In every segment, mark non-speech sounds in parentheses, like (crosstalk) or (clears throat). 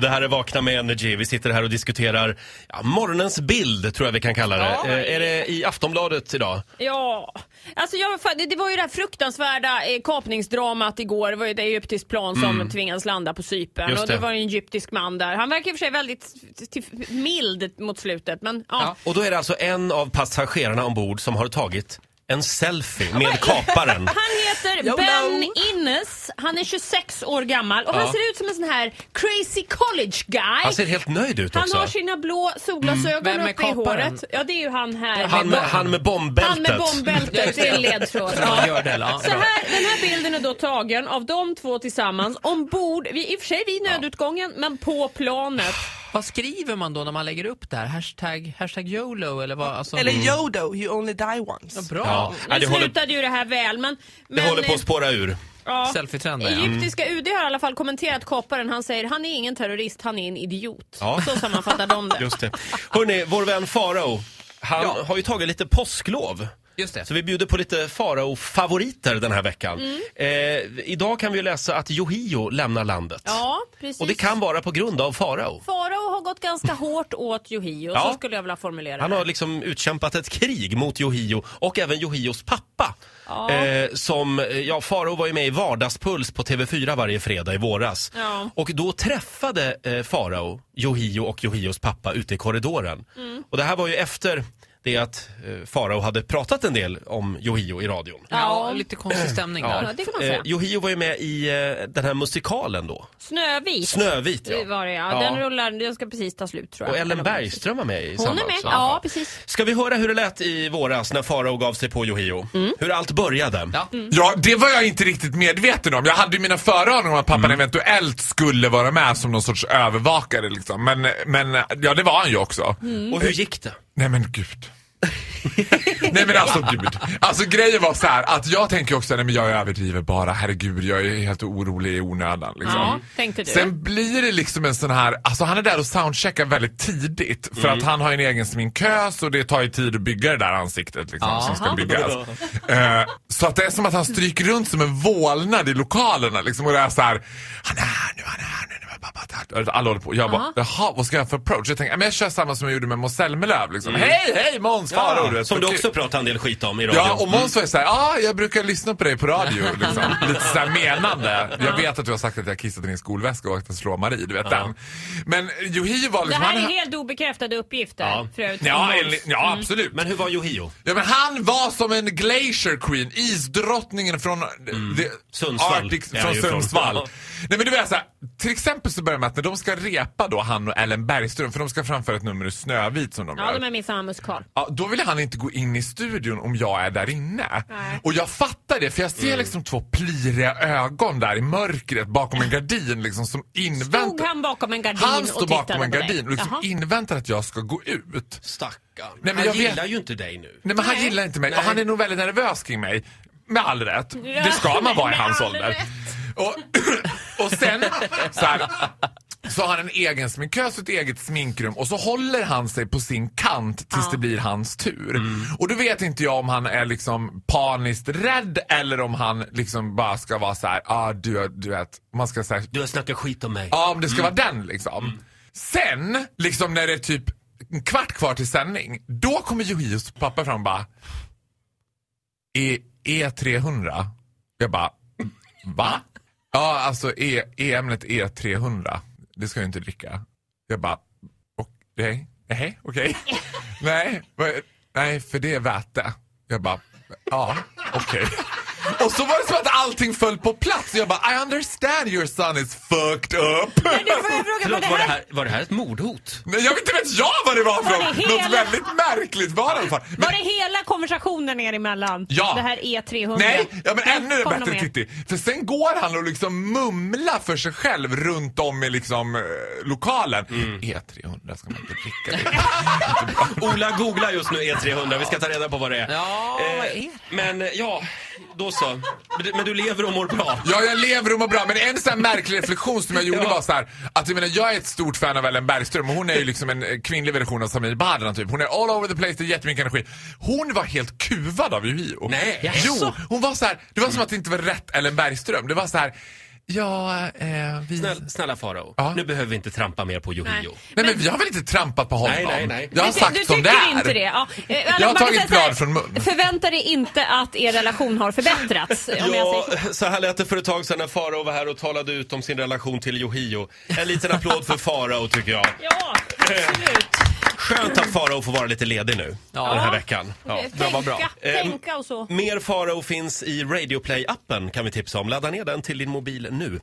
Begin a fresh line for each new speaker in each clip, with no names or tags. Det här är Vakna med Energy. Vi sitter här och diskuterar ja, morgonens bild, tror jag vi kan kalla det.
Ja.
Eh, är det i Aftonbladet idag?
Ja, alltså jag, fan, det- det var ju det här fruktansvärda eh, kapningsdramat igår. Det var ju ett egyptiskt plan som tvingades landa på Cypern.
Mm. Just
Och det
det.
var ju en egyptisk man där. Han verkar i och för sig väldigt t- t- mild mot slutet. Men ja.
Och då är det alltså en av passagerarna ombord som har tagit en selfie med kaparen.
Han heter
Yolo.
Ben Innes. Han är 26 år gammal och han
Ja.
ser ut som en sån här crazy college guy.
Han ser helt nöjd ut
Han
också. Mm.
har sina blå solglasögon
Vem är
uppe i
kaparen?
håret. Ja, det är ju han här.
Han med, han med bombbältet.
Han med bombbältet, det är en ledtråd.
Ja, gör det, ja.
Så här, den här bilden är då tagen av de två tillsammans ombord, vi, i och för sig vid nödutgången, men på planet.
Vad skriver man då när man lägger upp det här? Hashtag, hashtag YOLO eller vad? Alltså,
Eller Yodo, you only die once.
Ja, bra.
Ja. Nej,
Nu
det håller,
slutade ju det här väl, men... men
det håller på att
eh,
spåra ur.
ja.
Selfietrenden, ja.
Egyptiska
Mm.
UD har i alla fall kommenterat kaparen. Han säger han är ingen terrorist, han är en idiot.
Ja.
Så sammanfattar de det.
(laughs) Just det. Hörrni, vår vän Farao, han
Ja.
har ju tagit lite påsklov.
Just det.
Så vi bjuder på lite Farao-favoriter den här veckan.
Mm.
Eh, idag kan vi ju läsa att Yohio lämnar landet.
Ja, precis.
Och det kan vara på grund av Farao.
Farao har gått ganska hårt åt Yohio,
Ja.
så skulle jag vilja formulera det.
Han har liksom utkämpat ett krig mot Yohio och även Yohios pappa. Eh, som, eh, ja, Faro var ju med i Vardagspuls på TV4 varje fredag i våras.
Ja.
Och då träffade eh, Farao Yohio och Yohios pappa ute i korridoren.
Mm.
Och det här var ju efter det att eh, Farao hade pratat en del om Yohio i radion.
Ja, lite konstig stämning
Ja,
där.
det kan man säga.
Eh, Yohio var ju med i eh, den här musikalen då.
Snövit.
Snövit
Det
ja.
var det, ja. Den, rullar, den ska precis ta slut tror jag.
Och Ellen
Eller vad det är.
Bergström var med i
Hon
samma
är med,
också.
ja precis.
Ska vi höra hur det lät i våras när Farao gav sig på Yohio?
Mm.
Hur allt började?
Ja.
Ja, det var jag inte riktigt medveten om. Jag hade ju mina föraningar om att pappan eventuellt skulle vara med som någon sorts övervakare liksom. Men, men ja, det var han ju också.
Mm.
Och hur gick det?
Nej men gud. (laughs) Nej men alltså gud. Alltså grejen var så här att jag tänker också, nej men jag överdriver bara, herregud jag är helt orolig i onödan liksom.
Ja, tänkte du.
Sen blir det liksom en sån här, alltså han är där och soundcheckar väldigt tidigt för
Mm.
att han har en egen sminkös och det tar ju tid att bygga det där ansiktet liksom som ska byggas.
(laughs)
Eh, så att det är som att han stryker runt som en vålnad i lokalerna liksom och det är så här, han är här nu, han är här nu. nu, pappa, tack." Alla håller på. Jag bara, jaha, vad ska jag ha för approach? Jag tänker, "Ja, men jag kör samma som jag gjorde med Måns Zelmerlöw. Liksom. Hej, hej Måns, Farao. vet,
Mm. som du
så
typ-
kul."
också pratade en del skit om i radion.
Ja, och Måns var ju såhär, ja, ah, jag brukar lyssna på dig på radio. Liksom.
(laughs)
Lite såhär menande. Jag vet att du har sagt att jag kissat i din skolväska och att jag slår Marie, du vet den. Men Yohio var
Det
liksom...
här är
han-
helt Mm. obekräftade uppgifter
Ja.
för övrigt.
Ja, enligt- ja absolut.
Men hur var Yohio?
Ja, men han var som en glacier queen, isdrottningen från the
Mm. Sundsvall
Arctic,
är han
från
ju från.
Sundsvall. Nej men du vet såhär, till exempel så börjar med att när de ska repa då, han och Ellen Bergström, för de ska framföra ett nummer ur Snövit som de
Ja,
gör.
de är minsann en musikal.
Ja, då vill han inte gå in i studion om jag är där inne.
Nej.
Och jag fattar det för jag ser liksom två pliriga ögon där i mörkret bakom en gardin liksom som
Stod
inväntar.
han bakom en gardin
Han
och
står
tittade
bakom en
på dig?
gardin och liksom
Jaha.
inväntar att jag ska gå ut.
Stackarn.
men
han
jag vet-
gillar ju inte dig nu.
Nej men han
Nej.
gillar inte mig och han är nog väldigt nervös kring mig. Med all rätt. Det ska man vara i
med
hans
all
ålder.
rätt.
Och, (clears throat) och sen så, här, så har han en egen sminkös och ett eget sminkrum och så håller han sig på sin kant tills det blir hans tur. Och då vet inte jag om han är liksom paniskt rädd eller om han liksom bara ska vara så här, ah, du, du vet, man ska säga
Du har snackat skit om mig.
Ja, om det ska vara den liksom. Sen, liksom när det är typ en kvart kvar till sändning, då kommer Yohios pappa fram och bara e, E300. Jag bara, "Mm, va? Ja, alltså E- E-ämnet E300. Det ska jag inte dricka. Jag bara, okej, nej,
(laughs)
okej. Nej, vad- nej, för det är väte. Jag bara, ja, okej. Och så var det som att allting föll på plats. Jag bara, I understand your son is fucked up.
Men du, får jag fråga,
Förlåt,
vad
var
det
det,
här?
här, var det här ett mordhot?
Nej, jag vet inte vet jag vad det var för
Var det
något.
hela-
Något väldigt märkligt var det i alla fall. Men,
Var det hela konversationen er emellan?
Ja.
Det här E E300?
nej, ja, men ännu
Kom
bättre
med.
Titti. För sen går han och liksom mumlar för sig själv runt om i liksom, eh, lokalen.
Mm.
E300 ska man inte dricka det.
Ola googlar just nu E300. Vi ska ta reda på vad det är.
Ja, vad är det?
Men eh, ja, då så. Men du- Men du lever och mår bra.
Ja, jag lever och mår bra. Men en sån här märklig reflektion som jag gjorde
Ja.
var så här, att jag menar, jag är ett stort fan av Ellen Bergström och hon är ju liksom en eh, kvinnlig version av Samir Badran typ. Hon är all over the place, det är jättemycket energi. Hon var helt kuvad av Yohio.
Nej.
Jo, hon var så här, det var som att det inte var rätt Ellen Bergström. Det var så här, Ja, eh, vi...
Snäll, snälla farao,
Ja.
nu behöver vi inte trampa mer på
Nej.
Yohio.
Nej, men, jag har väl inte trampat på honom?
Nej, nej, nej.
Jag har
Du ty-
sagt
du
som det
tycker
är.
inte det? Ja. Eh,
Jag har
man kan
tagit
säga så här,
blad från mun.
Förvänta dig inte att er relation har förbättrats. Om jag säger
Ja,
så.
så här lät det för ett tag sedan när Farao var här och talade ut om sin relation till Yohio. En liten applåd för Farao tycker jag.
Ja, absolut.
Skönt att Farao får vara lite ledig nu
Ja.
den här veckan. Ja.
Tänka,
vad bra.
Eh,
tänka och så.
Mer Farao finns i Radioplay-appen kan vi tipsa om. Ladda ner den till din mobil nu.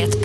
Ett